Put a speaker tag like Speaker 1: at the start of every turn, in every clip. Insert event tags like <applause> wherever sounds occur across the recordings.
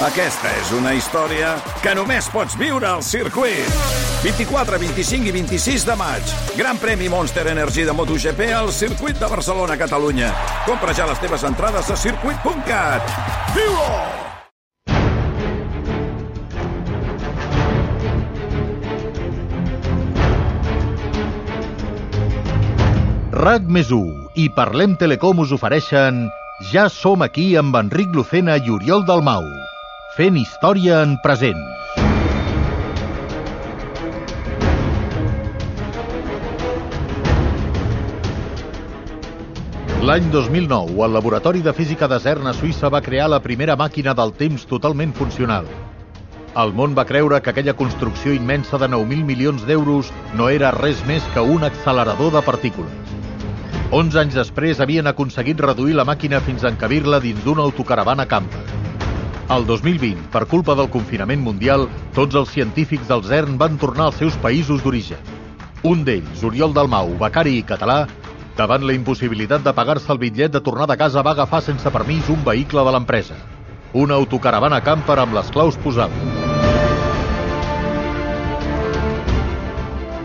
Speaker 1: Aquesta és una història que només pots viure al circuit. 24, 25 i 26 de maig. Gran premi Monster Energy de MotoGP al circuit de Barcelona, Catalunya. Compra ja les teves entrades a circuit.cat. viu -ho!
Speaker 2: RAC més 1 i Parlem Telecom us ofereixen Ja som aquí amb Enric Lucena i Oriol Dalmau fent història en present L'any 2009, el Laboratori de Física de CERN a Suïssa va crear la primera màquina del temps totalment funcional. El món va creure que aquella construcció immensa de 9.000 milions d'euros no era res més que un accelerador de partícules. 11 anys després havien aconseguit reduir la màquina fins a encabir-la dins d'una autocaravana camper. Al 2020, per culpa del confinament mundial, tots els científics del CERN van tornar als seus països d'origen. Un d'ells, Oriol Dalmau, becari i català, davant la impossibilitat de pagar-se el bitllet de tornada a casa va agafar sense permís un vehicle de l'empresa. Una autocaravana camper amb les claus posades.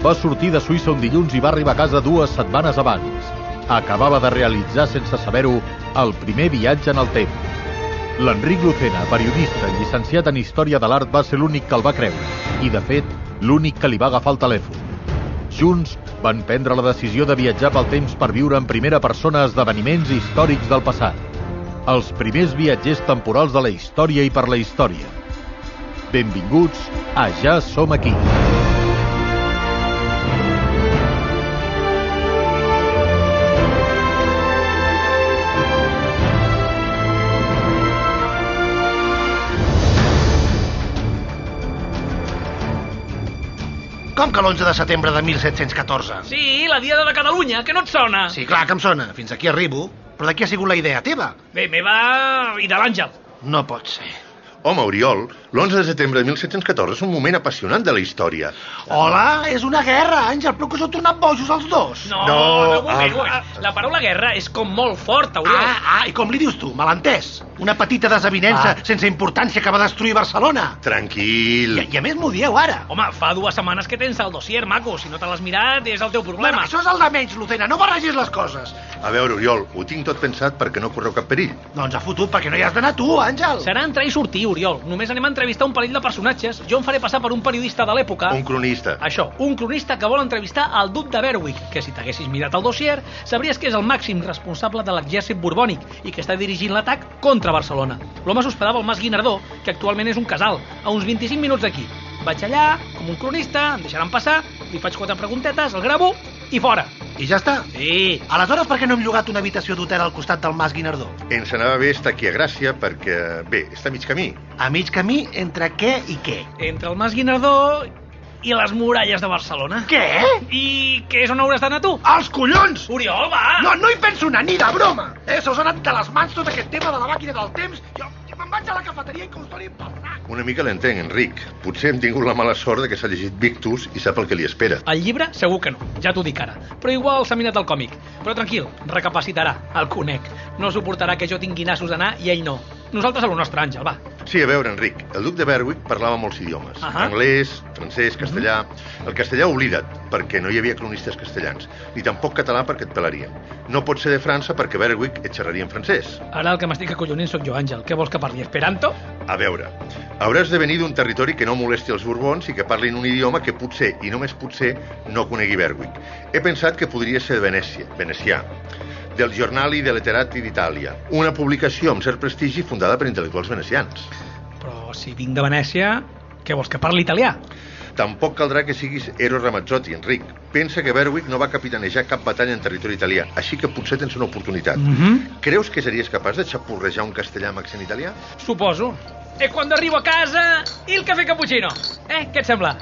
Speaker 2: Va sortir de Suïssa un dilluns i va arribar a casa dues setmanes abans. Acabava de realitzar, sense saber-ho, el primer viatge en el temps. L'Enric Lucena, periodista i llicenciat en Història de l'Art, va ser l'únic que el va creure. I, de fet, l'únic que li va agafar el telèfon. Junts van prendre la decisió de viatjar pel temps per viure en primera persona esdeveniments històrics del passat. Els primers viatgers temporals de la història i per la història. Benvinguts a Ja som aquí. Ja som aquí.
Speaker 3: Com que l'11 de setembre de 1714?
Speaker 4: Sí, la Diada de Catalunya, que no et sona?
Speaker 3: Sí, clar que em sona. Fins aquí arribo. Però de qui ha sigut la idea teva?
Speaker 4: Bé, meva i de l'Àngel.
Speaker 3: No pot ser.
Speaker 5: Home, Oriol, l'11 de setembre de 1714 és un moment apassionant de la història.
Speaker 3: Hola, és una guerra, Àngel, però que us heu tornat bojos els dos.
Speaker 4: No, no,
Speaker 5: No,
Speaker 4: no vull
Speaker 5: ah,
Speaker 4: fer-ho.
Speaker 5: ah.
Speaker 4: eh, La paraula guerra és com molt forta, Oriol.
Speaker 3: Ah, ah, i com li dius tu, malentès? Una petita desavinença
Speaker 5: Ah.
Speaker 3: sense importància que va destruir Barcelona.
Speaker 5: Tranquil.
Speaker 3: I, I a més m'ho dieu ara.
Speaker 4: Home, fa dues setmanes que tens el dossier, maco. Si no te l'has mirat, és el teu
Speaker 3: Bueno,
Speaker 4: problema.
Speaker 3: això és el de menys, Lucena, no barregis les coses.
Speaker 5: A veure, Oriol, ho tinc tot pensat perquè no correu cap perill.
Speaker 3: Doncs a fotut, perquè no hi has d'anar tu, Àngel.
Speaker 4: Serà entrar i sortir, Oriol. Només anem a entrevistar un parell de personatges. Jo em faré passar per un periodista de l'època.
Speaker 5: Un cronista.
Speaker 4: Això, un cronista que vol entrevistar el duc de Berwick, que si t'haguessis mirat el dossier, sabries que és el màxim responsable de l'exèrcit borbònic i que està dirigint l'atac contra Barcelona. L'home s'hospedava al Mas Guinardó, que actualment és un casal, a uns 25 minuts d'aquí. Vaig allà, com un cronista, em deixaran passar, li faig quatre preguntetes, el gravo i fora.
Speaker 3: I ja està.
Speaker 4: Sí,
Speaker 3: Aleshores, per què no hem llogat una habitació d'hotel al costat del Mas Guinardó?
Speaker 5: Ens anava bé estar aquí a Gràcia perquè, bé, està a mig camí.
Speaker 3: A mig camí, entre què i què?
Speaker 4: entre el Mas Guinardó i les muralles de Barcelona.
Speaker 3: Què?
Speaker 4: I que és on hauràs d'anar tu?
Speaker 3: Els collons!
Speaker 4: Oriol, va!
Speaker 3: No, no hi penso anar ni de broma. Eh, se us ha anat de les mans tot aquest tema de la màquina del temps. Jo, jo me'n vaig a la cafeteria i que us donin pel sac.
Speaker 5: Una mica l'entenc, Enric. Potser hem tingut la mala sort de que s'ha llegit Victus i sap el que li espera.
Speaker 4: El llibre segur que no, ja t'ho dic ara. Però igual s'ha mirat el còmic. Però tranquil, recapacitarà, el conec. No suportarà que jo tingui nassos d'anar i ell no. Nosaltres a lo nostre, Àngel, va.
Speaker 5: Sí, a veure, Enric, el duc de Berwick parlava molts idiomes.
Speaker 4: Ahà.
Speaker 5: Anglès, francès, castellà... El castellà oblida't, perquè no hi havia cronistes castellans. Ni tampoc català, perquè et pelarien. No pot ser de França, perquè Berwick et xerraria en francès.
Speaker 4: Ara el que m'estic acollonint sóc jo, Àngel. Què vols que parli? Esperanto?
Speaker 5: A veure, hauràs de venir d'un territori que no molesti els borbons i que parlin un idioma que potser, i només potser, no conegui Berwick. He pensat que podria ser de Venècia, venecià, del Giornali de Letterati d'Itàlia, una publicació amb cert prestigi fundada per intel·lectuals venecians.
Speaker 4: Però si vinc de Venècia, què vols que parli italià?
Speaker 5: Tampoc caldrà que siguis Eros Ramazzotti, Enric. Pensa que Berwick no va capitanejar cap batalla en territori italià, així que potser tens una oportunitat.
Speaker 4: Mhm.
Speaker 5: Creus que series capaç de xapurrejar un castellà amb accent italià?
Speaker 4: Suposo. E quando arrivo a casa, il cafè cappuccino. Eh, què et sembla?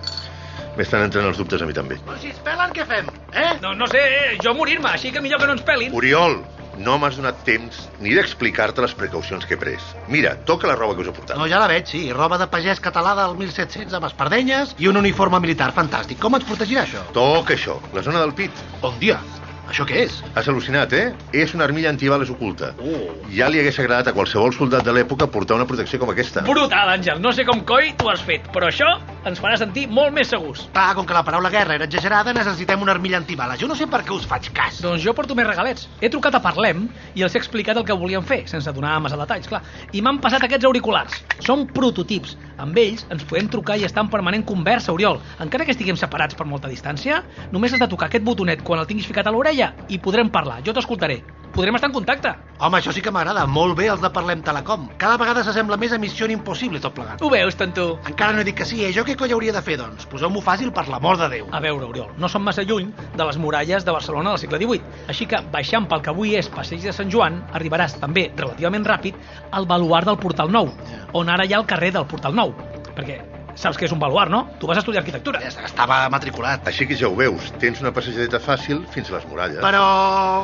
Speaker 5: M'estan entrant els dubtes a mi també.
Speaker 3: Però si es pelen, què fem? Eh?
Speaker 4: No, no sé, eh, jo morir-me, així que millor que no ens pelin.
Speaker 5: Oriol, no m'has donat temps ni d'explicar-te les precaucions que he pres. Mira, toca la roba que us he portat.
Speaker 3: No, ja la veig, sí. Roba de pagès català del 1700 amb espardenyes i un uniforme militar fantàstic. Com ens protegirà això?
Speaker 5: Toca això, la zona del pit.
Speaker 3: Bon dia. Això què és?
Speaker 5: Has al·lucinat, eh? És una armilla antibales oculta.
Speaker 3: Oh.
Speaker 5: Ja li hagués agradat a qualsevol soldat de l'època portar una protecció com aquesta.
Speaker 4: Brutal, Àngel. No sé com coi tu has fet, però això ens farà sentir molt més segurs.
Speaker 3: Clar, com que la paraula guerra era exagerada, necessitem una armilla antibales. Jo no sé per què us faig cas.
Speaker 4: Doncs jo porto més regalets. He trucat a Parlem i els he explicat el que volien fer, sense donar massa detalls, clar. I m'han passat aquests auriculars. Són prototips. Amb ells ens podem trucar i estar en permanent conversa, Oriol. Encara que estiguem separats per molta distància, només has de tocar aquest botonet quan el tinguis ficat a l'orella i podrem parlar. Jo t'escoltaré. Podrem estar en contacte.
Speaker 3: Home, això sí que m'agrada. Ah, Molt bé els de Parlem Telecom. Cada vegada s'assembla més a Missió Impossible tot plegat.
Speaker 4: Ho veus, tonto?
Speaker 3: Encara no he dit que sí, eh? Jo què coi hauria de fer, doncs? Poseu-m'ho fàcil per l'amor de Déu.
Speaker 4: A veure, Oriol, no som massa lluny de les muralles de Barcelona del segle XVIII, així que baixant pel que avui és Passeig de Sant Joan, arribaràs també relativament ràpid al baluart del Portal Nou, on ara hi ha el carrer del Portal Nou, perquè saps que és un baluart, no? Tu vas estudiar arquitectura.
Speaker 3: Ja estava matriculat.
Speaker 5: Així que ja ho veus, tens una passejadeta fàcil fins a les muralles.
Speaker 3: Però...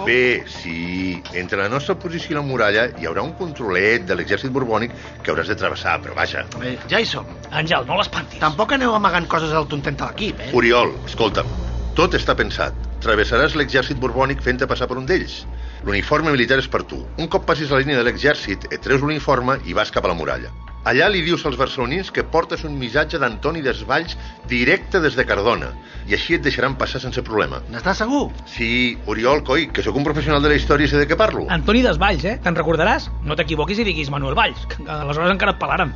Speaker 5: Bé, sí, entre la nostra posició i la muralla hi haurà un controlet de l'exèrcit borbònic que hauràs de travessar, però vaja.
Speaker 3: Bé, ja hi som.
Speaker 4: Àngel, no l'espantis.
Speaker 3: Tampoc aneu amagant coses al tontent de l'equip, eh?
Speaker 5: Oriol, escolta'm, tot està pensat. Travessaràs l'exèrcit borbònic fent-te passar per un d'ells. L'uniforme militar és per tu. Un cop passis la línia de l'exèrcit, et treus l'uniforme i vas cap a la muralla. Allà li dius als barcelonins que portes un missatge d'Antoni Desvalls directe des de Cardona i així et deixaran passar sense problema.
Speaker 3: N'estàs segur?
Speaker 5: Sí, Oriol, coi, que sóc un professional de la història i sé de què parlo.
Speaker 4: Antoni Desvalls, eh? Te'n recordaràs? No t'equivoquis i diguis Manuel Valls, que aleshores encara et pelaran.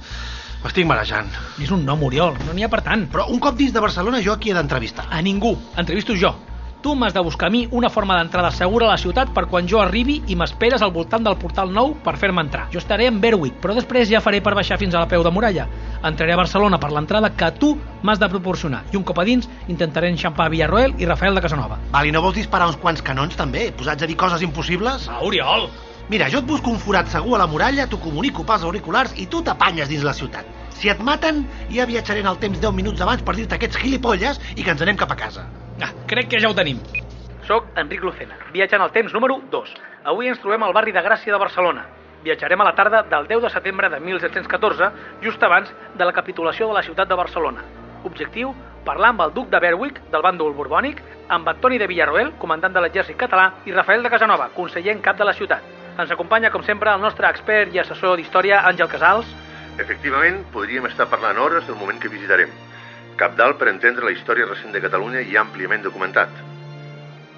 Speaker 3: M'estic marejant.
Speaker 4: És un nom, Oriol, no n'hi ha per tant.
Speaker 3: Però un cop dins de Barcelona jo aquí he d'entrevistar.
Speaker 4: A ningú, entrevisto jo. Tu m'has de buscar a mi una forma d'entrada segura a la ciutat per quan jo arribi i m'esperes al voltant del portal nou per fer-me entrar. Jo estaré en Berwick, però després ja faré per baixar fins a la peu de muralla. Entraré a Barcelona per l'entrada que tu m'has de proporcionar i un cop a dins intentaré enxampar Villarroel i Rafael de Casanova.
Speaker 3: Val, i no vols disparar uns quants canons, també? Posats a dir coses impossibles?
Speaker 4: Va, Ah, Oriol!
Speaker 3: Mira, jo et busco un forat segur a la muralla, t'ho comunico pels auriculars i tu t'apanyes dins la ciutat. Si et maten, ja viatjaré en el temps 10 minuts abans per dir-te aquests gilipolles i que ens anem cap a casa.
Speaker 4: Ah, crec que ja ho tenim. Soc Enric Lucena, viatjant al temps número 2. Avui ens trobem al barri de Gràcia de Barcelona. Viatjarem a la tarda del 10 de setembre de 1714, just abans de la capitulació de la ciutat de Barcelona. Objectiu, parlar amb el duc de Berwick, del bàndol borbònic, amb Antoni de Villarroel, comandant de l'exèrcit català, i Rafael de Casanova, conseller en cap de la ciutat. Ens acompanya, com sempre, el nostre expert i assessor d'història, Àngel Casals.
Speaker 5: Efectivament, podríem estar parlant hores del moment que visitarem. Cap dalt per entendre la història recent de Catalunya i àmpliament documentat.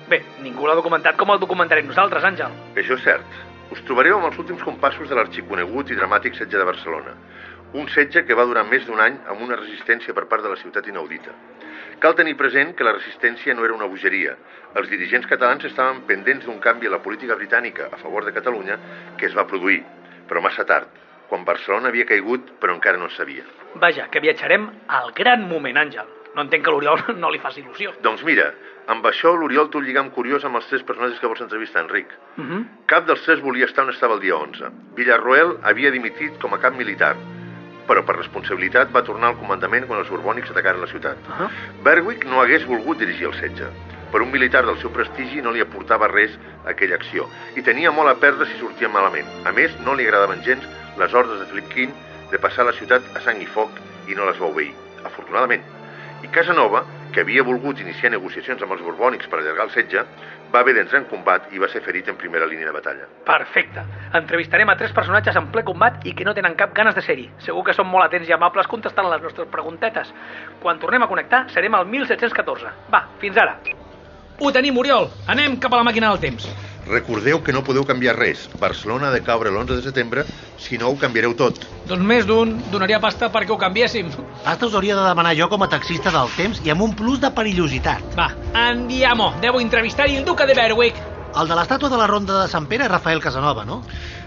Speaker 4: Bé, ningú l'ha documentat com el documentarem nosaltres, Àngel.
Speaker 5: Això és cert. Us trobareu amb els últims compassos de l'arxiconegut i dramàtic setge de Barcelona. Un setge que va durar més d'un any amb una resistència per part de la ciutat inaudita. Cal tenir present que la resistència no era una bogeria. Els dirigents catalans estaven pendents d'un canvi a la política britànica a favor de Catalunya que es va produir, però massa tard, quan Barcelona havia caigut però encara no es sabia.
Speaker 4: Vaja, que viatjarem al gran moment, Àngel. No entenc que l'Oriol <laughs> no li faci il·lusió.
Speaker 5: Doncs mira, amb això l'Oriol t'ho lligam curiós amb els tres personatges que vols entrevistar, Enric.
Speaker 4: Uh -huh.
Speaker 5: Cap dels tres volia estar on estava el dia 11. Villarroel havia dimitit com a cap militar, però per responsabilitat va tornar al comandament quan els borbònics atacaren la ciutat.
Speaker 4: Uh -huh.
Speaker 5: Berwick no hagués volgut dirigir el setge, però un militar del seu prestigi no li aportava res a aquella acció i tenia molt a perdre si sortia malament. A més, no li agradaven gens les ordres de Philip King de passar la ciutat a sang i foc i no les va obeir, afortunadament. I Casanova, que havia volgut iniciar negociacions amb els borbònics per allargar el setge, va haver d'entrar en combat i va ser ferit en primera línia de batalla.
Speaker 4: Perfecte. Entrevistarem a tres personatges en ple combat i que no tenen cap ganes de ser-hi. Segur que són molt atents i amables contestant les nostres preguntetes. Quan tornem a connectar, serem al 1714. Va, fins ara. Ho tenim, Oriol. Anem cap a la màquina del temps.
Speaker 5: Recordeu que no podeu canviar res. Barcelona ha de caure l'11 de setembre, si no ho canviareu tot.
Speaker 4: Doncs més d'un donaria pasta perquè ho canviéssim.
Speaker 3: Pasta us hauria de demanar jo com a taxista del temps i amb un plus de perillositat.
Speaker 4: Va, andiamo. Devo entrevistar il duca de Berwick.
Speaker 3: El de l'estàtua de la Ronda de Sant Pere és Rafael Casanova, no?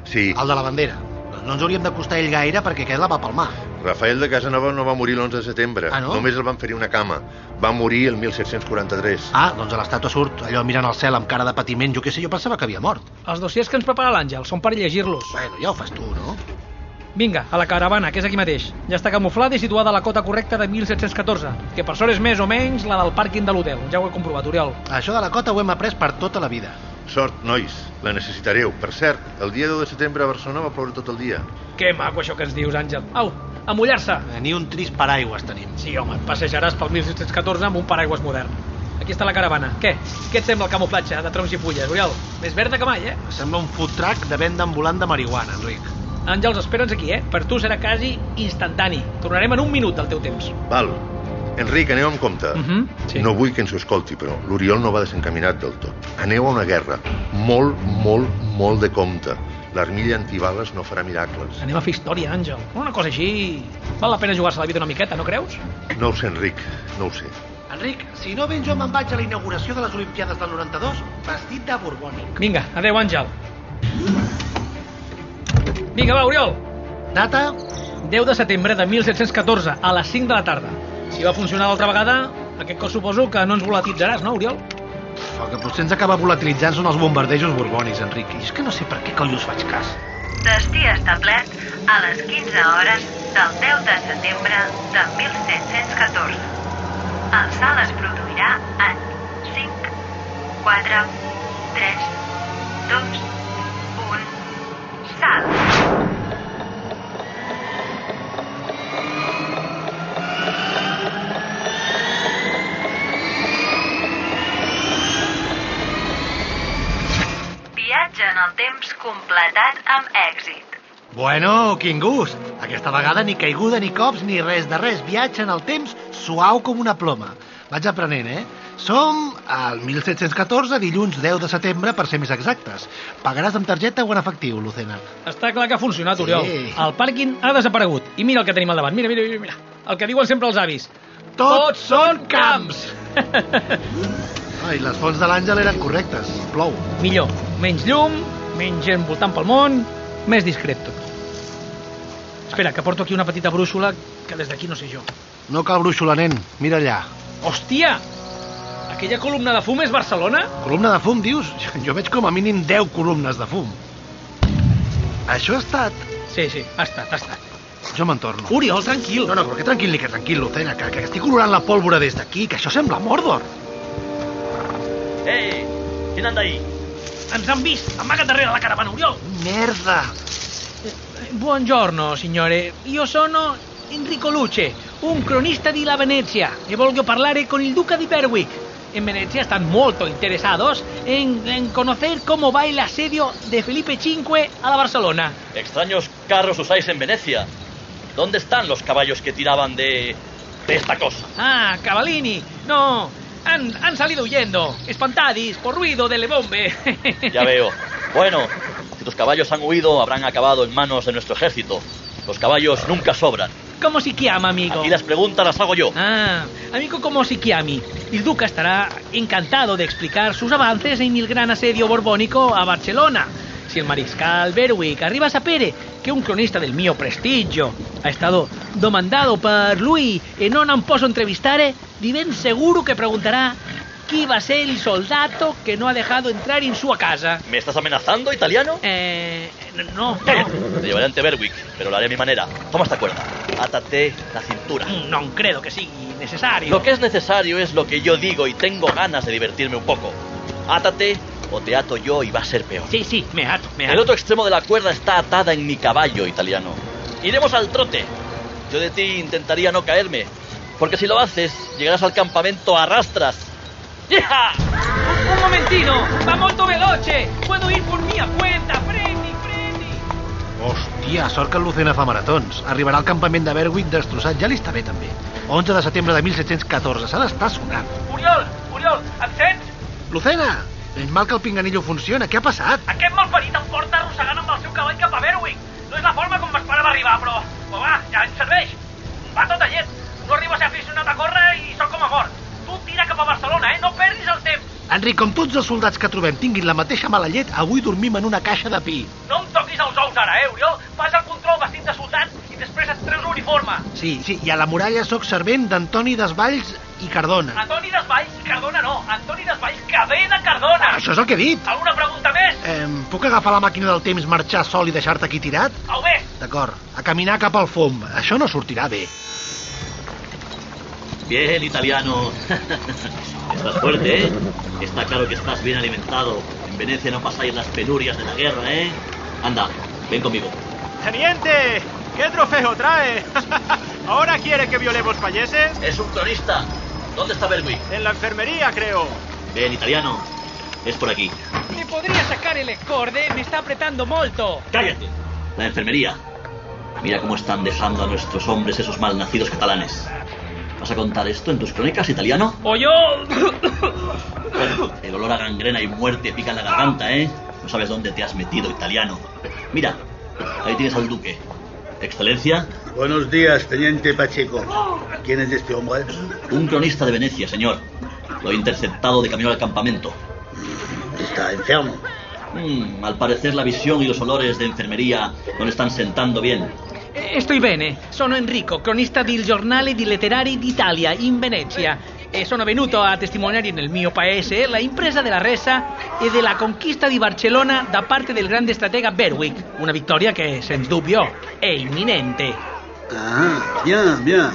Speaker 5: Sí,
Speaker 3: El de la bandera. Doncs No ens hauríem d'acostar a ell gaire perquè aquest la va palmar.
Speaker 5: Rafael de Casanova no va morir l'11 de setembre.
Speaker 3: Ah, no?
Speaker 5: Només el van fer una cama. Va morir el 1743.
Speaker 3: Ah, doncs a l'estàtua surt allò mirant al cel amb cara de patiment. Jo què sé, jo pensava que havia mort.
Speaker 4: Els dossiers que ens prepara l'Àngel són per llegir-los.
Speaker 3: Bueno, ja ho fas tu, no?
Speaker 4: Vinga, a la caravana, que és aquí mateix. Ja està camuflada i situada a la cota correcta de 1714, que per sort és més o menys la del pàrquing de l'hotel. Ja ho he comprovat, Oriol.
Speaker 3: Això de la cota ho hem après per tota la vida.
Speaker 5: Sort, nois, la necessitareu. Per cert, el dia 2 de setembre a Barcelona va ploure tot el dia.
Speaker 4: Que maco això que ens dius, Àngel. Au, a
Speaker 3: Eh,
Speaker 4: mullar-se.
Speaker 3: Ni un trist paraigües tenim.
Speaker 4: Sí, home, et passejaràs pel 1714 amb un paraigües modern. aquí està la caravana. Què? Què et sembla el camuflatge de troncs i fulles, Oriol? Més verda que mai, eh?
Speaker 3: Sembla un food truck de venda ambulant de marihuana, Enric.
Speaker 4: Àngels, espera'ns aquí, eh? Per tu serà quasi instantani. Tornarem en un minut del teu temps.
Speaker 5: Val. Enric, aneu amb compte.
Speaker 4: Mhm, sí.
Speaker 5: No vull que ens ho escolti, però l'Oriol no va desencaminat del tot. Aneu a una guerra. Molt, molt, molt de compte. L'armilla antibales no farà miracles.
Speaker 4: Anem a fer història, Àngel. Una cosa així... Val la pena jugar-se la vida una miqueta, no creus?
Speaker 5: No ho sé, Enric, no ho sé.
Speaker 3: Enric, si no ben jo me'n vaig a la inauguració de les Olimpiades del 92 vestit de borbònic.
Speaker 4: Vinga, adeu, Àngel. Vinga, va, Oriol.
Speaker 3: Data?
Speaker 4: 10 de setembre de 1714, a les 5 de la tarda. Si va funcionar l'altra vegada, aquest cos suposo que no ens volatilitzaràs, no, Oriol?
Speaker 3: El que potser ens acaba volatilitzant són els bombardejos borbònics, Enric. I és que no sé per què coi us faig cas.
Speaker 6: Destí establert a les 15 hores del 10 de setembre de 1714. El salt es produirà en 5, 4, 3, 2, 1, salt. Viatge en el temps completat amb èxit.
Speaker 3: Bueno, quin gust! Aquesta vegada ni caiguda ni cops ni res de res. Viatge en el temps suau com una ploma. Vaig aprenent, eh? Som al 1714, dilluns 10 de setembre, per ser més exactes. Pagaràs amb targeta o en efectiu, Lucena?
Speaker 4: Està clar que ha funcionat, Oriol.
Speaker 3: Sí.
Speaker 4: El pàrquing ha desaparegut. I mira el que tenim al davant. Mira, mira, mira, mira. El que diuen sempre els avis.
Speaker 3: Tots són camps! Ai, les fonts de l'Àngel eren correctes. Plou.
Speaker 4: Millor. Menys llum, menys gent voltant pel món, més discret tot. Espera, que porto aquí una petita brúixola que des d'aquí no sé jo.
Speaker 3: No cal brúixola, nen. Mira allà.
Speaker 4: Hòstia! Aquella columna de fum és Barcelona?
Speaker 3: Columna de fum, dius? <laughs> Jo veig com a mínim 10 columnes de fum. Això ha estat...
Speaker 4: Sí, sí, ha estat, ha estat.
Speaker 3: Jo me'n torno.
Speaker 4: Oriol, tranquil.
Speaker 3: No, no, però que tranquil, que tranquil, Lucena, que, que estic olorant la pólvora des d'aquí, que això sembla Mordor.
Speaker 7: ¡Eh! ¿Quién anda ahí?
Speaker 4: Ens han vist. Amaga't darrere la caravana, Oriol.
Speaker 3: Merda!
Speaker 4: Buongiorno, signore. Io sono Enrico Luce, un cronista di La Venezia e voglio parlare con il duca di Berwick. En Venezia están molto interesados en, en conocer cómo va el asedio de Felipe V a la Barcelona.
Speaker 7: Extraños carros usáis en Venecia. ¿Dónde están los caballos que tiraban de... de esta cosa?
Speaker 4: Ah, Cavallini, no, han, han salido huyendo, espantadis por ruido de lebombe. <laughs>
Speaker 7: Ya veo. Bueno, si tus caballos han huido, habrán acabado en manos de nuestro ejército. Los caballos nunca sobran.
Speaker 4: ¿Cómo se llama, amigo?
Speaker 7: Aquí las preguntas las hago yo.
Speaker 4: Ah, amigo como si chiami. El Duca estará encantado de explicar sus avances en el gran asedio borbónico a Barcelona. Si el mariscal Berwick arriba a sapere que un cronista del mío prestigio ha estado domandado per lui e non han posso entrevistare, di eh, ben seguro que preguntará qui va ser el soldato que no ha dejado entrar en su casa.
Speaker 7: ¿Me estás amenazando, italiano?
Speaker 4: Eh, no, no,
Speaker 7: Te llevaré ante Berwick, pero lo haré a mi manera. Toma esta cuerda. Átate la cintura.
Speaker 4: no, no creo que sigui necessario.
Speaker 7: Lo que es necesario es lo que yo digo y tengo ganas de divertirme un poco. Átate o te ato yo y va a ser peor.
Speaker 4: Sí, sí, me ato, me
Speaker 7: El
Speaker 4: ato.
Speaker 7: otro extremo de la cuerda está atada en mi caballo italiano. Iremos al trote. Yo de ti intentaría no caerme, porque si lo haces, llegarás al campamento a rastras. ¡Hija!
Speaker 4: Un momentino, va molto veloce. Puedo ir por mia cuenta. Freni, freni.
Speaker 3: Hòstia, sort que el Lucena fa maratons. Arribarà al campament de Berwick destrossat, ja li està bé, també. 11 de setembre de 1714, s'ha d'estar sonant.
Speaker 4: Oriol, Oriol, em sents?
Speaker 3: Lucena! Menys mal que el pinganillo funciona, què ha passat?
Speaker 4: Aquest malparit em porta arrossegant amb el seu cavall cap a Berwick. No és la forma com m'esperava arribar, però... Però va, ja ens serveix. Va tot a llet. No arriba a ser aficionat a córrer i sóc com a mort. Tu tira cap a Barcelona, eh? No perdis el temps.
Speaker 3: Enric, com tots els soldats que trobem tinguin la mateixa mala llet, avui dormim en una caixa de pi.
Speaker 4: No em toquis els ous ara, eh, Oriol? Fas el control vestit de soldat i després et treus l'uniforme.
Speaker 3: Sí, sí, i a la muralla sóc servent d'Antoni Desvalls i Cardona.
Speaker 4: Antoni Desvalls, Cardona no. Antoni Desvalls, que ve de Cardona.
Speaker 3: Això és el que he dit!
Speaker 4: Alguna pregunta més?
Speaker 3: Eh, puc agafar la màquina del temps, marxar sol i deixar-te aquí tirat?
Speaker 4: Au, bé.
Speaker 3: D'acord, a caminar cap al fum. Això no sortirà bé.
Speaker 7: Bien, italiano. <laughs> estás fuerte, ¿eh? Está claro que estás bien alimentado. En Venecia no pasáis las penurias de la guerra, ¿eh? Anda, ven conmigo.
Speaker 8: Teniente,
Speaker 9: <laughs>
Speaker 8: ¿qué trofeo trae? ¿Ahora quiere que violemos payeses?
Speaker 7: Es un cronista. ¿Dónde está Berwick?
Speaker 10: En la enfermería, creo.
Speaker 7: Ven, italiano. Es por aquí.
Speaker 4: ¿Me podría sacar el escorde? Me está apretando molto.
Speaker 7: ¡Cállate! La enfermería. Mira cómo están dejando a nuestros hombres esos malnacidos catalanes. ¿Vas a contar esto en tus crónicas, italiano?
Speaker 11: O yo...
Speaker 7: Bueno, el olor a gangrena y muerte pica en la garganta, ¿eh? No sabes dónde te has metido, italiano. Mira, ahí tienes al duque. Excelencia,
Speaker 12: Buenos días, teniente Pacheco. ¿Quién es este hombre?
Speaker 7: un cronista de Venecia, señor. Lo he interceptado de camino al campamento.
Speaker 12: Está enfermo.
Speaker 7: Mm, al parecer la visión y los olores de enfermería no le están sentando bien.
Speaker 4: Estoy bene, sono Enrico, cronista del giornale di letterari d'Italia in Venezia. E sono venuto a testimoniare nel mio paese la impresa della resa e della conquista di Barcellona da parte del grande stratega Berwick. Una vittoria che, senza dubbio, è imminente.
Speaker 12: Ah, bien, bien.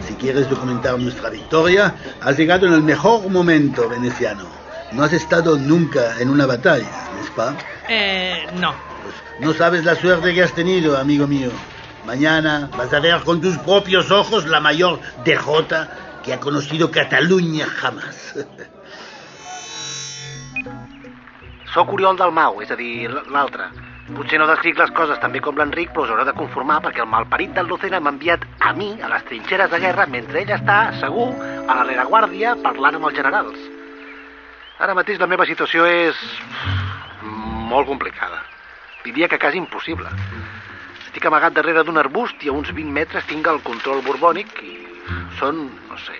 Speaker 12: Si quieres documentar nuestra victoria, has llegado en el mejor momento veneciano. No has estado nunca en una batalla, ¿no es pa?
Speaker 4: Eh, no.
Speaker 12: Pues no sabes la suerte que has tenido, amigo mío. Mañana vas a ver con tus propios ojos la mayor derrota que ha conocido Cataluña jamás. <laughs>
Speaker 3: Soc Oriol del Mau, és a dir, l- l'altre. Potser no descric les coses tan bé com l'Enric, però us haureu de conformar perquè el malparit del Lucena m'ha enviat a mi a les trinxeres de guerra mentre ell està, segur, a la rereguàrdia parlant amb els generals. Ara mateix la meva situació és... mm, molt complicada. Diria que quasi impossible. Estic amagat darrere d'un arbust i a uns 20 metres tinc el control borbònic i són, no sé,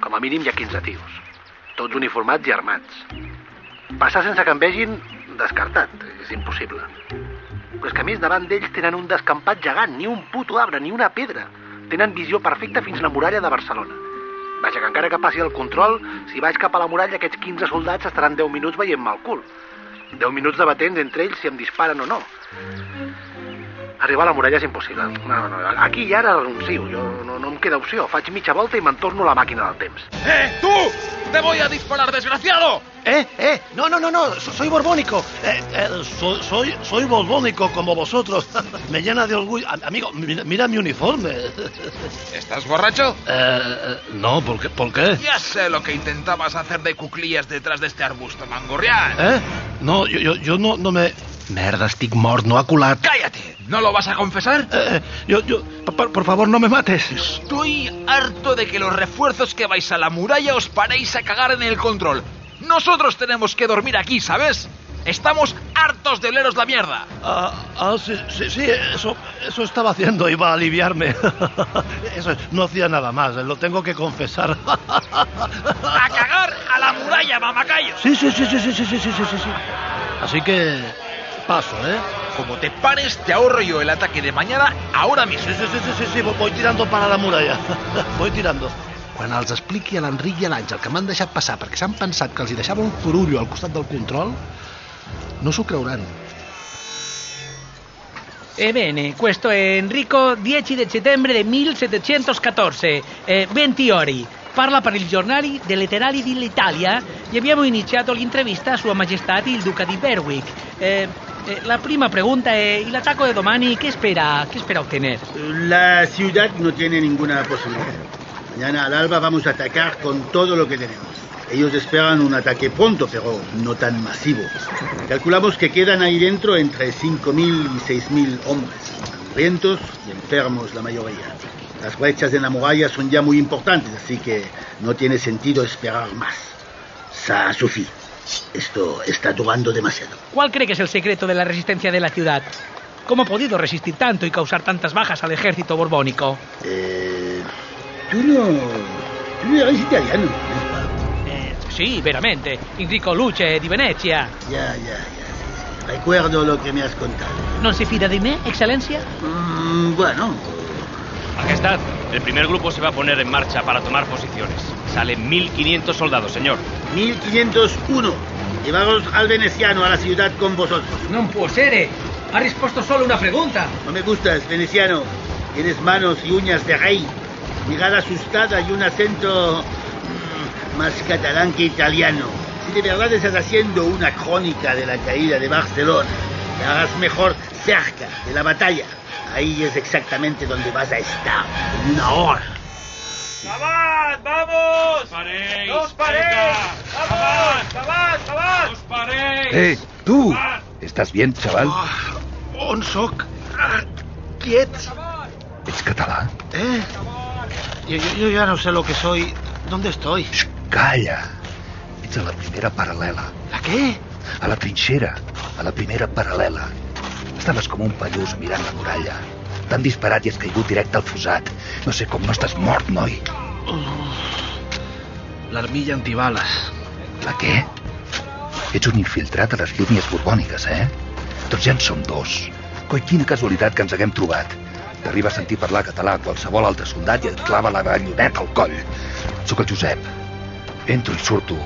Speaker 3: com a mínim hi ha 15 tios. Tots uniformats i armats. Passar sense que em vegin, descartat, és impossible. Però és que a més davant d'ells tenen un descampat gegant, ni un puto arbre, ni una pedra. Tenen visió perfecta fins la muralla de Barcelona. Vaja, que encara que passi el control, si vaig cap a la muralla aquests 15 soldats estaran 10 minuts veient-me el cul. 10 minuts debatent entre ells si em disparen o no. Arribar a la muralla és impossible. No, no, no. Aquí i ara renuncio. Jo no, no em queda opció. Faig mitja volta i me'n torno a la màquina del temps.
Speaker 9: ¡Eh, tú! ¡Te voy a disparar, desgraciado!
Speaker 3: Eh, eh, no, no, no, no, so- soy borbónico. Eh, eh, so- soy, soy borbónico como vosotros. <laughs> Me llena de orgullo. Am- Amigo, mira, mira mi uniforme.
Speaker 13: ¿Estás borracho?
Speaker 3: Eh, eh, no, ¿por qué? ¿Por qué?
Speaker 13: Ya sé lo que intentabas hacer de cuclillas detrás de este arbusto, mangorrián.
Speaker 3: ¿Eh? No, yo, yo, yo no, no me. Merda, estic mort, no ha colat.
Speaker 13: ¡Cállate! ¿No lo vas a confesar?
Speaker 3: Eh, eh, yo, yo, pa- pa- por favor, no me mates.
Speaker 13: Estoy harto de que los refuerzos que vais a la muralla os paréis a cagar en el control. Nosotros tenemos que dormir aquí, ¿sabes? Estamos hartos de oleros la mierda.
Speaker 3: Ah, ah, sí, sí, sí, eso, eso estaba haciendo, iba a aliviarme. <laughs> Eso, no hacía nada más, eh, lo tengo que confesar. <laughs>
Speaker 13: ¡A cagar a la muralla, mamacayo!
Speaker 3: Sí, sí, sí, sí, sí, sí, sí, sí, sí, sí. Así que paso, ¿eh?
Speaker 13: Como te pares, te ahorro yo el ataque de mañana ahora mismo.
Speaker 3: Sí, sí, sí, sí, sí, sí, voy tirando para la muralla. <laughs> Voy tirando. Quan els expliqui a l'Enric i a l'Àngel que m'han deixat passar perquè s'han pensat que els hi deixava un forullo al costat del control, no s'ho creuran.
Speaker 4: Ebbene, E questo è Enrico, 10 di settembre del 1714, eh, 20 ore. Parla per il giornale dei letterari dell'Italia e abbiamo iniziato l'intervista a Sua Maestà il Duca di Berwick. Eh, eh, la prima pregunta è, l'attacco di domani che spera, che spera ottenere?
Speaker 12: La ciudad no tiene ninguna posibilidad. Mañana al alba vamos a atacar con todo lo que tenemos. Ellos esperan un ataque pronto, pero no tan masivo. Calculamos que quedan ahí dentro entre 5.000 y 6.000 hombres, hambrientos y enfermos la mayoría. Las brechas en la muralla son ya muy importantes, así que no tiene sentido esperar más. Sa Sufi, esto está durando demasiado.
Speaker 4: ¿Cuál cree que es el secreto de la resistencia de la ciudad? ¿Cómo ha podido resistir tanto y causar tantas bajas al ejército borbónico?
Speaker 12: Eh, tú no... Tú no eres italiano. ¿no?
Speaker 4: Eh, sí, veramente. Enrico Luce di Venezia.
Speaker 12: Ya, ya, ya. Recuerdo lo que me has contado.
Speaker 4: ¿No se fida de mí, excelencia?
Speaker 12: Mm, bueno,
Speaker 10: Majestad, el primer grupo se va a poner en marcha para tomar posiciones. Salen 1500 soldados, señor.
Speaker 12: 1501. Llevaros al veneciano a la ciudad con vosotros.
Speaker 11: Non può essere! Ha risposto solo una pregunta!
Speaker 12: No me gustas, veneciano. Tienes manos y uñas de rey. Mirada asustada y un acento mm, más catalán que italiano. Si de verdad estás haciendo una crónica de la caída de Barcelona, la harás mejor cerca de la batalla. Ahí es exactamente donde vas a estar. en Una hora.
Speaker 14: ¡Sabat, vamos!
Speaker 15: paréis!
Speaker 14: ¡No os paréis! ¡Vamos! ¡Sabat, sabat!
Speaker 15: ¡Os paréis!
Speaker 16: Eh, tu! Estàs bien, xaval?
Speaker 3: On sóc? Ah, qui ets?
Speaker 16: Ets català?
Speaker 3: Eh? Yo, yo- yo ya no sé lo que soy. ¿Dónde estoy?
Speaker 16: Calla! Ets a la primera paral·lela.
Speaker 3: ¿La qué?
Speaker 16: A la trinxera. A la primera paral·lela. Estaves com un pallús mirant la muralla. T'han disparat i has caigut directe al fosat. No sé com no estàs mort, noi.
Speaker 3: Oh.
Speaker 13: La armilla antibales.
Speaker 16: La què? Ets un infiltrat a les línies borbòniques, eh? Doncs ja en som dos. Coi, quina casualitat que ens haguem trobat. T'arriba a sentir parlar català a qualsevol altre soldat i et clava la galloneta al coll. Sóc el Josep. Entro i surto.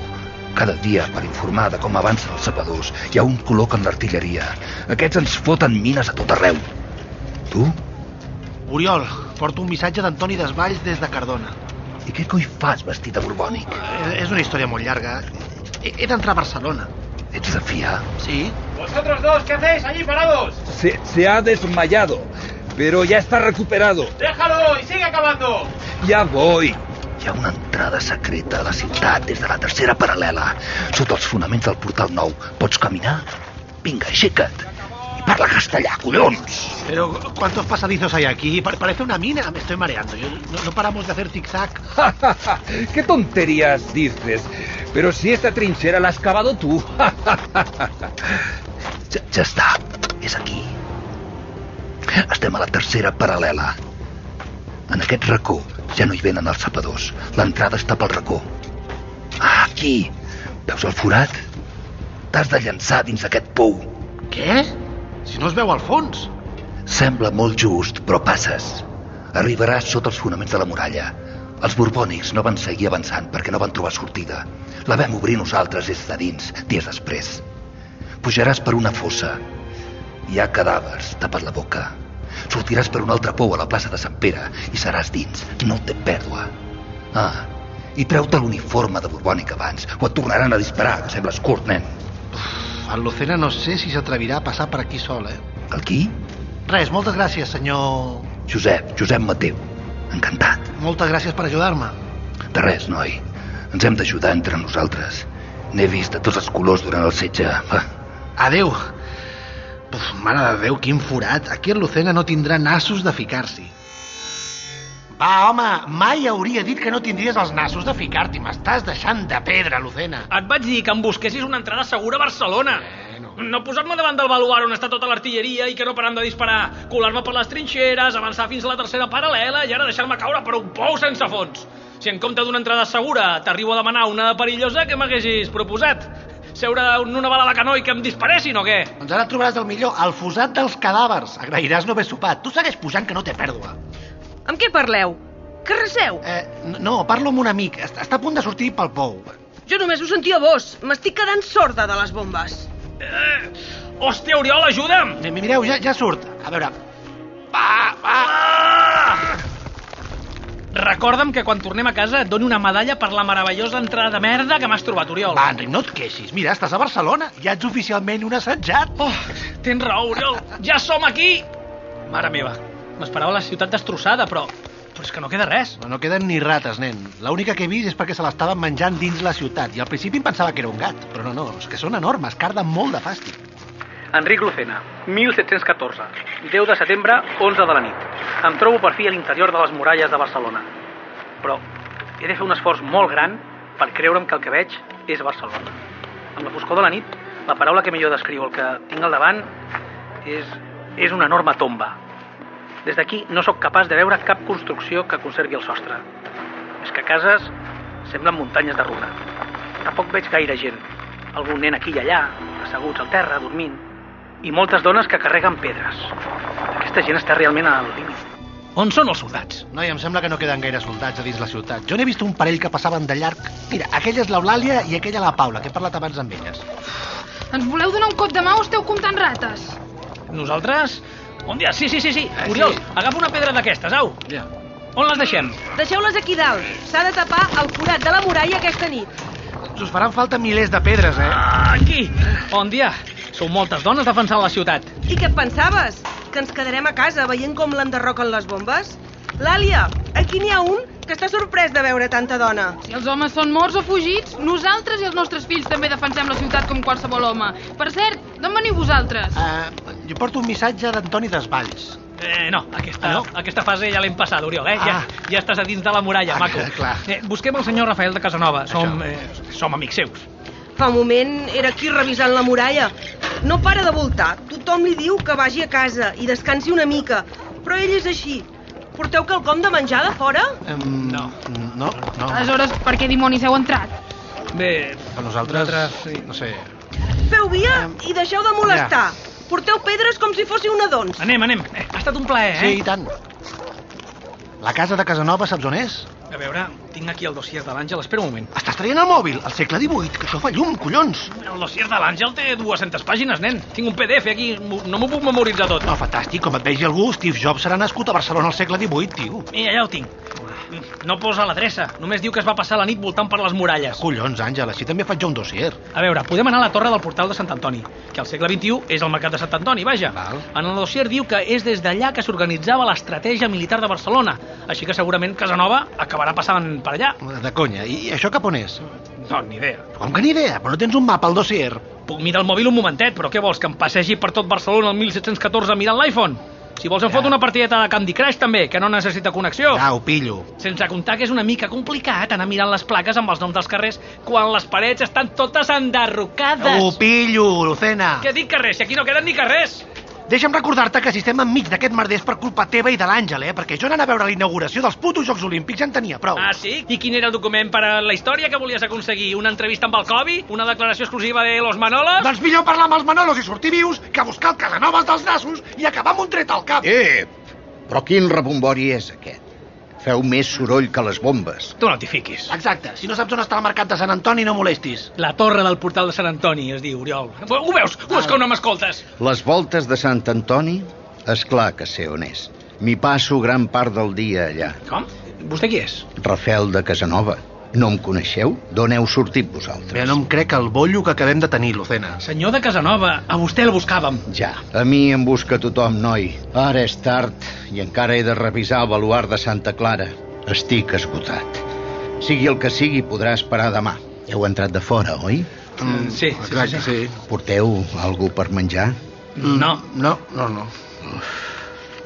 Speaker 16: Cada dia, per informar de com avancen els sapadors, hi ha un col·loquen l'artilleria. Aquests ens foten mines a tot arreu. Tu?
Speaker 3: Oriol, porto un missatge d'Antoni Desvalls des de Cardona.
Speaker 16: I què coi fas vestit de borbònic?
Speaker 3: Eh, És una història molt llarga. He he d'entrar a Barcelona.
Speaker 16: Ets de fiar?
Speaker 3: Sí.
Speaker 14: Vosotros dos, ¿qué hacéis allí parados?
Speaker 16: Se, se ha desmayado, pero ya está recuperado.
Speaker 14: ¡Déjalo y sigue acabando!
Speaker 16: Ja voy. Hi ha una entrada secreta a la ciutat des de la tercera paral·lela. Sota els fonaments del portal nou. Pots caminar? Vinga, aixeca't. I parla castellà, collons!
Speaker 3: Pero, ¿cuántos pasadizos hay aquí? Pa- Parece una mina, me estoy mareando. Yo- no, no paramos de hacer zig-zag.
Speaker 16: <laughs> ¿Qué
Speaker 15: tonterías dices? Pero si esta trinchera la has cavado tú. <laughs>
Speaker 16: Ja, ja està. És aquí. Estem a la tercera paral·lela. En aquest racó ja no hi venen els sapadors. L'entrada està pel racó. Ah, aquí! Veus el forat? T'has de llançar dins d'aquest pou.
Speaker 3: Què? Si no es veu al fons.
Speaker 16: Sembla molt just, però passes. Arribaràs sota els fonaments de la muralla. Els borbònics no van seguir avançant perquè no van trobar sortida. La vam obrir nosaltres des de dins, dies després. Pujaràs per una fossa. Hi ha cadàvers tapat la boca. Sortiràs per un altre pou a la plaça de Sant Pere i seràs dins. No té pèrdua. Ah, i treu-te l'uniforme de borbònic abans o et tornaran a disparar, que sembles curt, nen.
Speaker 3: Al Lucena no sé si s'atrevirà a passar per aquí sol, eh?
Speaker 16: El qui?
Speaker 3: Res, moltes gràcies, senyor...
Speaker 16: Josep, Josep Mateu. Encantat.
Speaker 3: Moltes gràcies per ajudar-me.
Speaker 16: De res, noi. Ens hem d'ajudar entre nosaltres. N'he vist de tots els colors durant el setge. Va,
Speaker 3: Adeu. Uf, mare de Déu, quin forat. Aquí el Lucena no tindrà nassos de ficar-s'hi. Va, home, mai hauria dit que no tindries els nassos de ficar-t'hi. M'estàs deixant de pedra, Lucena.
Speaker 4: Et vaig dir que em busquessis una entrada segura a Barcelona. No posar-me davant del baluar on està tota l'artilleria i que no param de disparar, colar-me per les trinxeres, avançar fins a la tercera paral·lela i ara deixar-me caure per un pou sense fons. Si en compte d'una entrada segura t'arribo a demanar una perillosa que m'haguessis proposat, seure en una bala de canó i que em disparessin o què?
Speaker 3: Doncs ara trobaràs el millor, el fosat dels cadàvers. Agrairàs no haver sopat. Tu segueix pujant que no té pèrdua.
Speaker 17: Amb què parleu? Que receu?
Speaker 3: Eh, No, no, parlo amb un amic. Està, està a punt de sortir pel pou.
Speaker 17: Jo només ho sentia a vos. M'estic quedant sorda de les bombes.
Speaker 4: Hòstia, Oriol, ajuda'm!
Speaker 3: Mi- Mireu, ja, ja surt. A veure,
Speaker 4: Recorda'm que quan tornem a casa et dono una medalla per la meravellosa entrada de merda que m'has trobat, Oriol.
Speaker 3: Va, Enric, no et queixis. Mira, estàs a Barcelona. Ja ets oficialment un assetjat.
Speaker 4: Oh, tens raó, Oriol. Ja som aquí! Mare meva, m'esperava la ciutat destrossada, però... Però és que no queda res.
Speaker 3: No queden ni rates, nen. L'única que he vist és perquè se l'estaven menjant dins la ciutat i al principi em pensava que era un gat, però no, no, és que són enormes, carden molt de fàstic.
Speaker 4: Enric Lucena, 1714, 10 de setembre, 11 de la nit. Em trobo per fi a l'interior de les muralles de Barcelona. Però he de fer un esforç molt gran per creure'm que el que veig és Barcelona. Amb la foscor de la nit, la paraula que millor descriu el que tinc al davant és, és una enorme tomba. Des d'aquí no sóc capaç de veure cap construcció que conservi el sostre. És que cases semblen muntanyes de runa. Tampoc veig gaire gent. Algun nen aquí i allà, asseguts al terra, dormint. I moltes dones que carreguen pedres. Aquesta gent està realment al límit. On són els soldats?
Speaker 3: Noi, em sembla que no queden gaire soldats a dins la ciutat. Jo n'he vist un parell que passaven de llarg. Mira, aquella és l'Eulàlia i aquella la Paula, que he parlat abans amb elles.
Speaker 18: Ens voleu donar un cop de mà o esteu comptant rates?
Speaker 4: Nosaltres? On dia? Sí, sí, sí, sí.
Speaker 3: Ah,
Speaker 4: Oriol, agafa una pedra d'aquestes, au. Ja. On les deixem?
Speaker 17: Deixeu-les aquí dalt. S'ha de tapar el forat de la muralla aquesta nit.
Speaker 3: Us faran falta milers de pedres, eh?
Speaker 4: Ah, Aquí! Bon dia. Sou moltes dones defensant la ciutat.
Speaker 17: I què et pensaves? Que ens quedarem a casa veient com l'enderroquen les bombes?
Speaker 19: L'Àlia, aquí n'hi ha un que està sorprès de veure tanta dona.
Speaker 18: Si els homes són morts o fugits, nosaltres i els nostres fills també defensem la ciutat com qualsevol home. Per cert, d'on veniu vosaltres?
Speaker 3: Uh, jo porto un missatge d'Antoni Desvalls.
Speaker 4: Eh, no, aquesta, ah, no? aquesta fase ja l'hem passat, Oriol, eh? Ah. Ja, ja estàs a dins de la muralla, ah, maco.
Speaker 3: <laughs> Clar.
Speaker 4: Eh, busquem el senyor Rafael de Casanova, som, eh, som amics seus.
Speaker 19: Fa un moment era aquí revisant la muralla. No para de voltar. Tothom li diu que vagi a casa i descansi una mica. Però ell és així. Porteu quelcom de menjar de fora?
Speaker 3: Um, no. No, no.
Speaker 18: Aleshores, per què dimonis heu entrat?
Speaker 3: Bé, però nosaltres... nosaltres sí. No sé...
Speaker 19: Feu via um, i deixeu de molestar. Ja. Porteu pedres com si fóssiu nadons.
Speaker 4: Anem, anem. Eh, ha estat un plaer, eh?
Speaker 3: Sí, i tant. La casa de Casanova, saps on és?
Speaker 4: A veure, tinc aquí el dossier de l'Àngel, espera un moment.
Speaker 3: Estàs traient el mòbil, al segle XVIII, que això fa llum, collons.
Speaker 4: El dossier de l'Àngel té 200 pàgines, nen. Tinc un PDF aquí, no m'ho puc memoritzar tot.
Speaker 3: No, fantàstic, com et vegi algú, Steve Jobs serà nascut a Barcelona al segle XVIII, tio.
Speaker 4: Mira, allà ho tinc. No posa l'adreça, només diu que es va passar la nit voltant per les muralles.
Speaker 3: Collons, Àngel, així també faig jo un dossier.
Speaker 4: A veure, podem anar a la torre del portal de Sant Antoni, que al segle XXI és el mercat de Sant Antoni, vaja.
Speaker 3: Val.
Speaker 4: En el dossier diu que és des d'allà que s'organitzava l'estratègia militar de Barcelona, així que segurament Casanova acabarà passant per allà.
Speaker 3: De conya, i això cap on és?
Speaker 4: No, ni idea.
Speaker 3: Com que ni idea? Però no tens un mapa al dossier?
Speaker 4: Puc mirar el mòbil un momentet, però què vols, que em passegi per tot Barcelona el 1714 mirant l'iPhone? Si vols em ja. fot una partideta de Candy Crush, també, que no necessita connexió.
Speaker 3: Ja, ho pillo.
Speaker 4: Sense comptar que és una mica complicat anar mirant les plaques amb els noms dels carrers quan les parets estan totes enderrocades.
Speaker 3: Ho pillo, Lucena.
Speaker 4: Què dic carrers? Si aquí no queden ni carrers.
Speaker 3: Deixa'm recordar-te que si estem enmig d'aquest merder és per culpa teva i de l'Àngel, eh? Perquè jo anant a veure la inauguració dels putos Jocs Olímpics ja en tenia prou.
Speaker 4: Ah, sí? I quin era el document per a la història que volies aconseguir? Una entrevista amb el Covi? Una declaració exclusiva de los Manolos?
Speaker 3: Doncs millor parlar amb els Manolos i sortir vius que buscar el Casanovas dels nassos i acabar amb un tret al cap.
Speaker 20: Eh, però quin rebombori és aquest? Feu més soroll que les bombes.
Speaker 4: Tu no t'hi fiquis.
Speaker 3: Exacte. Si no saps on està el mercat de Sant Antoni, no molestis.
Speaker 4: La torre del portal de Sant Antoni, es diu, Oriol. Ho veus? Ho és que no m'escoltes.
Speaker 20: Les voltes de Sant Antoni? És clar que sé on és. M'hi passo gran part del dia allà.
Speaker 4: Com? Vostè qui és?
Speaker 20: Rafel de Casanova. No em coneixeu? D'on heu sortit vosaltres?
Speaker 3: Bé, no em crec el bollo que acabem de tenir, Lucena.
Speaker 4: Senyor de Casanova, a vostè el buscàvem.
Speaker 20: Ja, a mi em busca tothom, noi. Ara és tard i encara he de revisar el baluar de Santa Clara. Estic esgotat. Sigui el que sigui, podrà esperar demà. Heu entrat de fora, oi?
Speaker 4: Mm, sí, sí,
Speaker 3: clar sí, sí, sí.
Speaker 20: Porteu algú per menjar?
Speaker 4: No.
Speaker 3: Mm, No, no, no.
Speaker 20: Uf,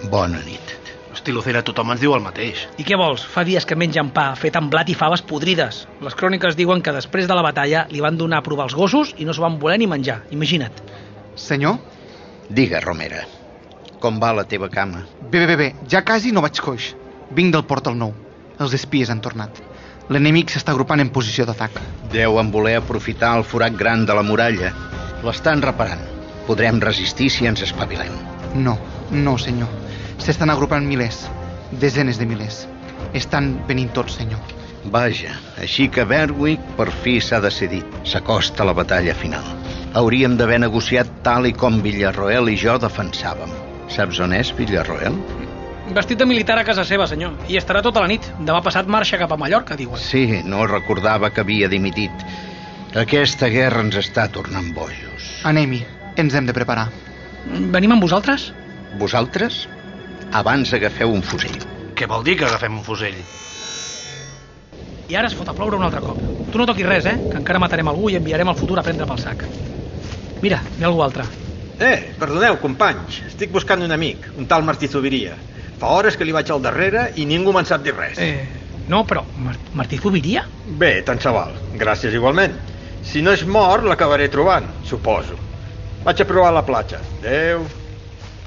Speaker 20: bona nit.
Speaker 3: Hosti, Lucena, tothom ens diu el mateix.
Speaker 4: I què vols? Fa dies que mengen pa, fet amb blat i faves podrides. Les cròniques diuen que després de la batalla li van donar a provar els gossos i no s'ho van voler ni menjar. Imagina't.
Speaker 21: Senyor?
Speaker 20: Digue, Romera, com va la teva cama?
Speaker 21: Bé, bé, bé, bé. ja quasi no vaig coix. Vinc del port al nou. Els espies han tornat. L'enemic s'està agrupant en posició d'atac.
Speaker 20: Deuen voler aprofitar el forat gran de la muralla. L'estan reparant. Podrem resistir si ens espavilem.
Speaker 21: No, no, senyor. S'estan agrupant milers, desenes de milers. Estan venint tots, senyor.
Speaker 20: Vaja, així que Berwick per fi s'ha decidit. S'acosta la batalla final. Hauríem d'haver negociat tal i com Villarroel i jo defensàvem. Saps on és Villarroel?
Speaker 4: Vestit de militar a casa seva, senyor. I estarà tota la nit. Demà passat marxa cap a Mallorca, diuen.
Speaker 20: Sí, no recordava que havia dimitit. Aquesta guerra ens està tornant bojos.
Speaker 21: Anem-hi. Ens hem de preparar.
Speaker 4: Venim amb vosaltres?
Speaker 20: Vosaltres? abans agafeu un fusell.
Speaker 3: Què vol dir que agafem un fusell?
Speaker 4: I ara es fot a ploure un altre cop. Tu no toquis res, eh? Que encara matarem algú i enviarem el futur a prendre pel sac. Mira, hi ha algú altre.
Speaker 22: Eh, perdoneu, companys. Estic buscant un amic, un tal Martí Zubiria. Fa hores que li vaig al darrere i ningú me'n sap dir res.
Speaker 4: Eh, no, però Mar Martí Zubiria?
Speaker 22: Bé, tant se val. Gràcies igualment. Si no és mort, l'acabaré trobant, suposo. Vaig a provar la platja. Adéu.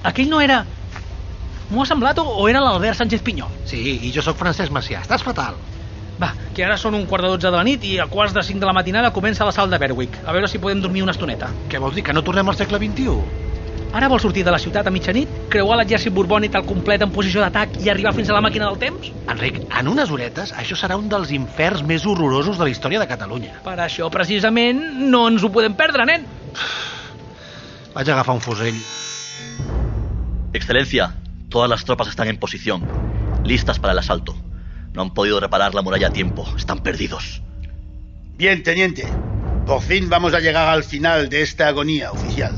Speaker 4: Aquell no era... M'ho ha semblat o, o era l'Albert Sánchez Pinyol?
Speaker 3: Sí, i jo sóc Francesc Macià. Estàs fatal.
Speaker 4: Va, que ara són un quart de dotze de la nit i a quarts de cinc de la matinada comença la sal de Berwick. A veure si podem dormir una estoneta.
Speaker 3: Què vols dir, que no tornem al segle XXI?
Speaker 4: Ara vol sortir de la ciutat a mitjanit, creuar l'exèrcit borbònic al complet en posició d'atac i arribar fins a la màquina del temps?
Speaker 3: Enric, en unes horetes això serà un dels inferns més horrorosos de la història de Catalunya.
Speaker 4: Per això, precisament, no ens ho podem perdre, nen.
Speaker 3: Vaig agafar un fusell.
Speaker 7: Excelencia, Todas las tropas están en posición, listas para el asalto. No han podido reparar la muralla a tiempo, están perdidos.
Speaker 23: Bien, teniente. Por fin vamos a llegar al final de esta agonía oficial.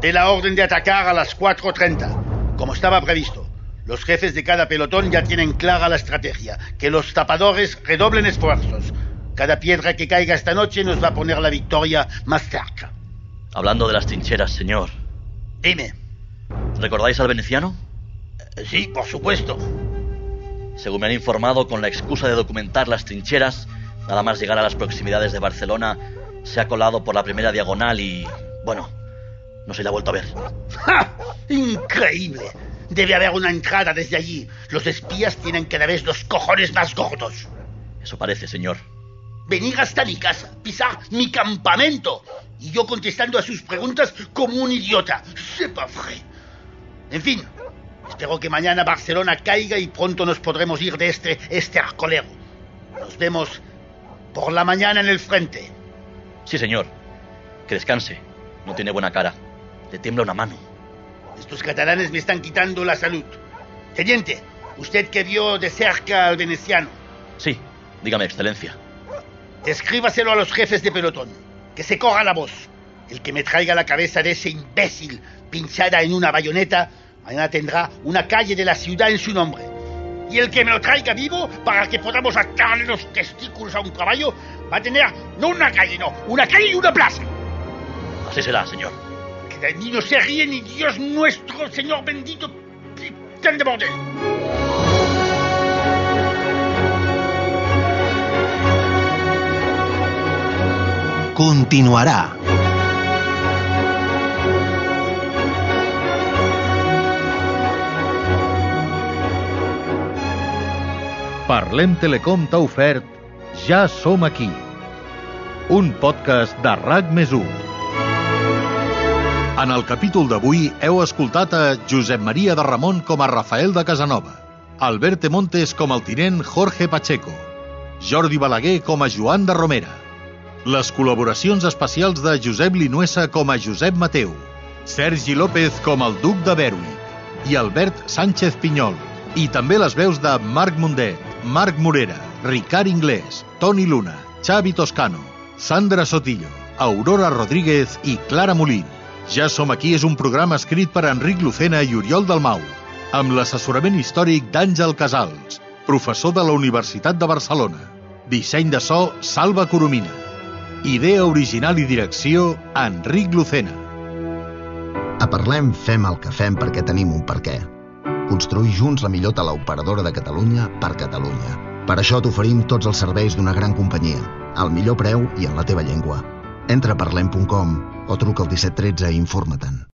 Speaker 23: De la orden de atacar a las 4.30, como estaba previsto.
Speaker 12: Los jefes de cada pelotón ya tienen clara la estrategia. Que los tapadores redoblen esfuerzos. Cada piedra que caiga esta noche nos va a poner la victoria más cerca.
Speaker 7: Hablando de las trincheras, señor.
Speaker 12: Dime. Eh,
Speaker 7: ¿Recordáis al veneciano?
Speaker 12: Sí, por supuesto.
Speaker 7: Según me han informado, con la excusa de documentar las trincheras, nada más llegar a las proximidades de Barcelona, se ha colado por la primera diagonal y... bueno, no se le ha vuelto a ver.
Speaker 12: ¡Ja! ¡Increíble! Debe haber una entrada desde allí. Los espías tienen cada vez los cojones más gordos.
Speaker 7: Eso parece, señor.
Speaker 12: Venir hasta mi casa, pisar mi campamento. Y yo contestando a sus preguntas como un idiota. C'est pas vrai. En fin, espero que mañana Barcelona caiga y pronto nos podremos ir de este estercolero. Nos vemos por la mañana en el frente.
Speaker 7: Sí, señor. Que descanse. No tiene buena cara. Le tiembla una mano.
Speaker 12: Estos catalanes me están quitando la salud. Teniente, usted que vio de cerca al veneciano.
Speaker 7: Sí, dígame, excelencia.
Speaker 12: Escríbaselo a los jefes de pelotón. Que se coja la voz. El que me traiga la cabeza de ese imbécil pinchada en una bayoneta, mañana tendrá una calle de la ciudad en su nombre. Y el que me lo traiga vivo para que podamos atarle los testículos a un caballo, va a tener no una calle, no, una calle y una plaza.
Speaker 7: Así será, señor.
Speaker 12: Que de mí no se ríe ni Dios nuestro, Señor bendito, tan de bordel.
Speaker 20: Continuará.
Speaker 24: Parlem Telecom t'ha ofert Ja som aquí. Un podcast de RAC més 1.
Speaker 2: En el capítol d'avui heu escoltat a Josep Maria de Ramon com a Rafael de Casanova, Albert de Montes com el tinent Jorge Pacheco, Jordi Balaguer com a Joan de Romera, les col·laboracions especials de Josep Linuesa com a Josep Mateu, Sergi López com el duc de Berwick i Albert Sánchez Pinyol, i també les veus de Marc Mundet, Marc Morera, Ricard Inglés, Toni Luna, Xavi Toscano, Sandra Sotillo, Aurora Rodríguez i Clara Molín. Ja som aquí és un programa escrit per Enric Lucena i Oriol Dalmau, amb l'assessorament històric d'Àngel Casals, professor de la Universitat de Barcelona. Disseny de so, Salva Coromina. Idea original i direcció, Enric Lucena.
Speaker 20: A Parlem fem el que fem perquè tenim un per què. Construir junts la millor teleoperadora de Catalunya per Catalunya. Per això t'oferim tots els serveis d'una gran companyia, al millor preu i en la teva llengua. Entra a parlem.com o truca al 1713 i informa-te'n.